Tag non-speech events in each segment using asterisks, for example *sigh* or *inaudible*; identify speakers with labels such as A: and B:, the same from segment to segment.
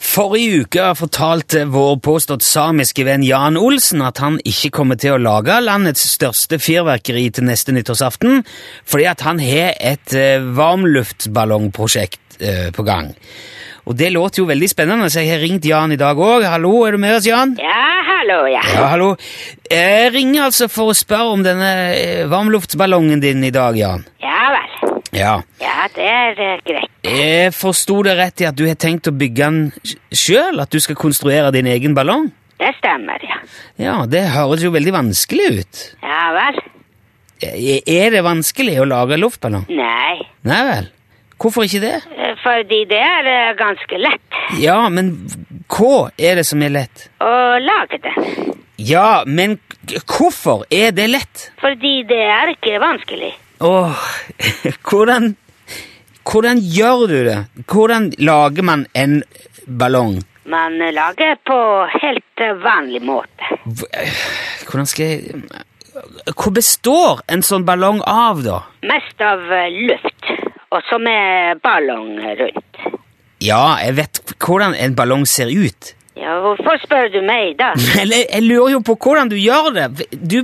A: Forrige uke fortalte vår påstått samiske venn Jan Olsen at han ikke kommer til å lage landets største fyrverkeri til neste nyttårsaften, fordi at han har et eh, varmluftballongprosjekt eh, på gang. Og det låter jo veldig spennende, så jeg har ringt Jan i dag òg. Hallo, er du med oss, Jan?
B: Ja, hallo, ja.
A: Ja, hallo. Jeg ringer altså for å spørre om denne eh, varmluftballongen din i dag, Jan.
B: Ja vel.
A: Ja.
B: Ja, det er eh, greit.
A: Jeg forsto det rett i at du har tenkt å bygge den sjøl? At du skal konstruere din egen ballong?
B: Det stemmer, ja.
A: Ja, det høres jo veldig vanskelig ut.
B: Ja vel.
A: E- Er det vanskelig å lage luftballong?
B: Nei,
A: Nei vel. Hvorfor ikke det?
B: eh, fordi det er eh, ganske lett
A: Ja, men hva er det som er lett?
B: å lage den.
A: Ja, men k- hvorfor er det lett?
B: Fordi det er ikke vanskelig.
A: Åh, *laughs* hvordan Hvordan gjør du det? Hvordan lager man en ballong?
B: Man eh, lager på helt eh, vanlig måte.
A: Hv- Hvordan skal jeg Hva består en sånn ballong av, da?
B: Mest av eh, luft, og så med ballong rundt.
A: Ja, jeg vet hvordan en ballong ser ut.
B: Ja, hvorfor spør du meg da?
A: Men jeg, jeg lurer jo på hvordan du gjør det. Du,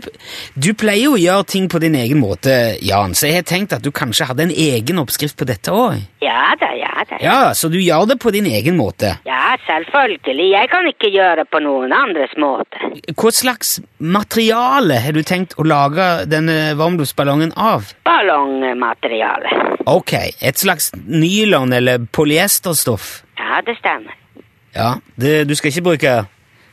A: du pleier jo å gjøre ting på din egen måte, Jan, så jeg har tenkt at du kanskje hadde en egen oppskrift på dette òg.
B: Ja da, ja da.
A: Ja, så du gjør det på din egen måte.
B: Ja, selvfølgelig. Jeg kan ikke gjøre på noen andres måte.
A: Hva slags materiale har du tenkt å lage denne varmluftsballongen av?
B: Ballongmateriale.
A: Ok, et slags nylon- eller polyesterstoff.
B: Ja, det stemmer.
A: Ja, det, du skal ikke bruke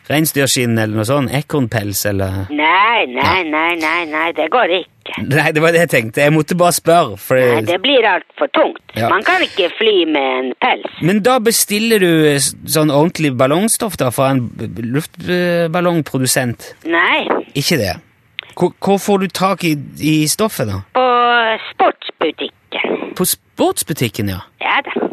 A: reinsdyrskinn eller noe sånt? Ekornpels eller
B: Nei, nei, nei, nei, nei, det går ikke.
A: Nei, det var det jeg tenkte. Jeg måtte bare spørre. For
B: Nei, det blir altfor tungt.
A: Eh, Ja.
B: Man kan ikke fly med en pels.
A: Men da bestiller du eh, s- sånn ordentlig ballongstoff da fra en b- b- luftballongprodusent?
B: Nei,
A: Ikke det? Hvor, hvor får du tak i, i stoffet, da?
B: på sportsbutikken.
A: På sportsbutikken, ja.
B: Ja da.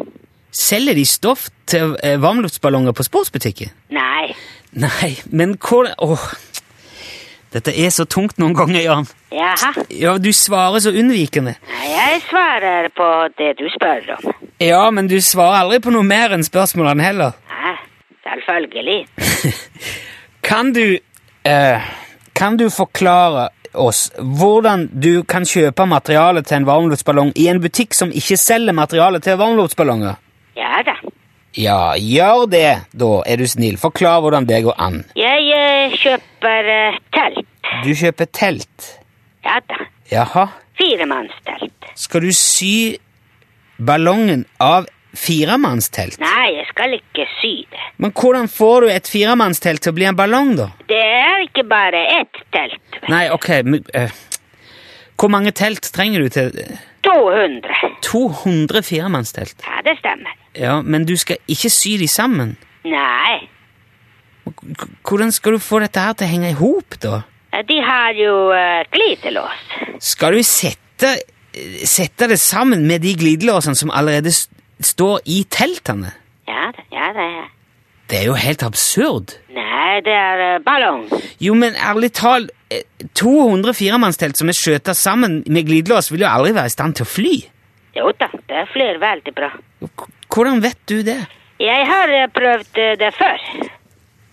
A: Selger de stoff til eh, varmluftsballonger på sportsbutikken?
B: Nei.
A: Nei, men hvor Åh! Dette er så tungt noen ganger, Jan.
B: Jaha.
A: Ja, Du svarer så unnvikende.
B: Nei, Jeg svarer på det du spør om.
A: Ja, men du svarer aldri på noe mer enn spørsmålene heller.
B: Ja, selvfølgelig.
A: Kan du eh, Kan du forklare oss hvordan du kan kjøpe materiale til en varmluftsballong i en butikk som ikke selger materiale til varmluftsballonger?
B: Ja da.
A: Ja, gjør det, da, er du snill. Forklar hvordan det går an.
B: Jeg eh, kjøper eh, telt.
A: Du kjøper telt.
B: Ja da.
A: Jaha.
B: Firemannstelt.
A: Skal du sy ballongen av firemannstelt?
B: Nei, jeg skal ikke sy det.
A: Men hvordan får du et firemannstelt til å bli en ballong, da?
B: Det er ikke bare ett telt.
A: Nei, ok, men eh, Hvor mange telt trenger du til
B: 200.
A: 200 firemannstelt?
B: Ja, det stemmer.
A: Ja, men du skal ikke sy de sammen.
B: Nei,
A: K- Hvordan skal du få dette her til å henge i hop, da?
B: de har jo eh, glidelås.
A: Skal du sette, eh, sette det sammen med de glidelåsene som allerede s- står i teltene?
B: Ja, da, ja, da, ja.
A: Det er jo helt absurd.
B: Nei, det er eh, ballong.
A: Jo, men ærlig talt, eh, 200 firemannstelt som er skjøta sammen med glidelås, vil jo aldri være i stand til å fly.
B: Jo da, det flyr veldig bra.
A: K- Hvordan vet du det?
B: Jeg har eh, prøvd eh, det før.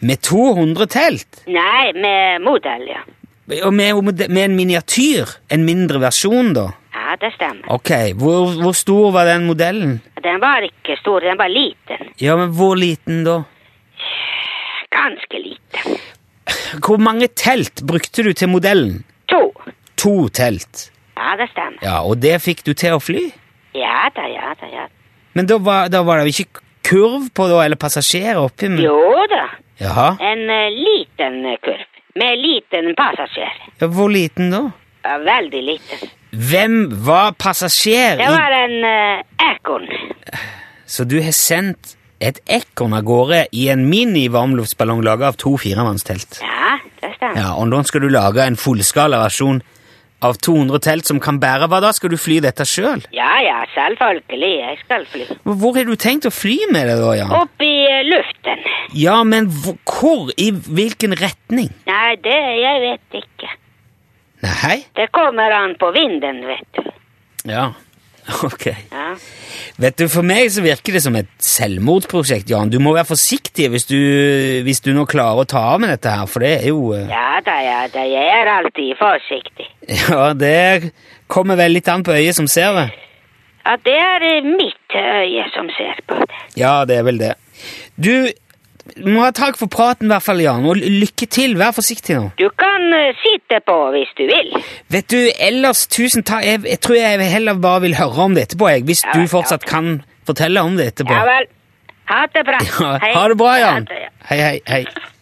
A: Med 200 telt?
B: Nei, med modell, ja.
A: Og med, med en miniatyr? En mindre versjon, da?
B: Ja, det stemmer.
A: Ok, hvor, hvor stor var den modellen?
B: Den var ikke stor, den var liten.
A: Ja, men hvor liten da?
B: Ganske liten.
A: Hvor mange telt brukte du til modellen?
B: To.
A: To telt.
B: Ja, det stemmer.
A: Ja, og det fikk du til å fly?
B: Ja da, ja da, ja.
A: Men da var, da var det jo ikke kurv på da, eller passasjerer oppi? Men...
B: Jo da,
A: Jaha.
B: en eh, liten eh, kurv. Med liten passasjer.
A: Ja, hvor liten da?
B: Ja, Veldig liten.
A: Hvem var passasjer
B: Det
A: i
B: var en uh, ekorn.
A: Så du har sendt et ekorn av gårde i en mini-varmluftsballong laga av to firemannstelt?
B: Ja, det stemmer.
A: Ja, og nå skal du lage en fullskala versjon av 200 telt som kan bære hva da? Skal du fly dette sjøl?
B: Ja, ja, selvfølgelig. Jeg skal fly.
A: Hvor har du tenkt å fly med det, da, Jan?
B: Opp i eh, luften.
A: Ja, men hvor, hvor? I hvilken retning?
B: Nei, det jeg vet ikke.
A: Nei?
B: Det kommer an på vinden, vet du.
A: Ja. *laughs* Ok.
B: Ja.
A: Vet du, For meg så virker det som et selvmordsprosjekt, Jan. Du må være forsiktig hvis du, hvis du nå klarer å ta av med dette her, for det er jo eh,
B: ja da, ja da, jeg er alltid forsiktig.
A: *laughs* Ja, det kommer vel litt an på øyet som ser det.
B: Ja, det er eh, mitt øye som ser på det.
A: Ja, det er vel det. Du må ha takk for praten, i hvert fall, Jan, og ly- lykke til. Vær forsiktig nå.
B: Du kan eh, sitte på hvis du vil.
A: Vet du, ellers, tusen takk. Jeg, jeg tror jeg heller bare vil høre om det etterpå, jeg, hvis
B: Ja,
A: du
B: ja.
A: fortsatt kan fortelle om det etterpå.
B: Ja vel. Ha det bra.
A: *laughs* Ja,
B: Hei.
A: Ha det bra, Jan.
B: 啊 Ha det, ja.
A: Hei, hei, hei.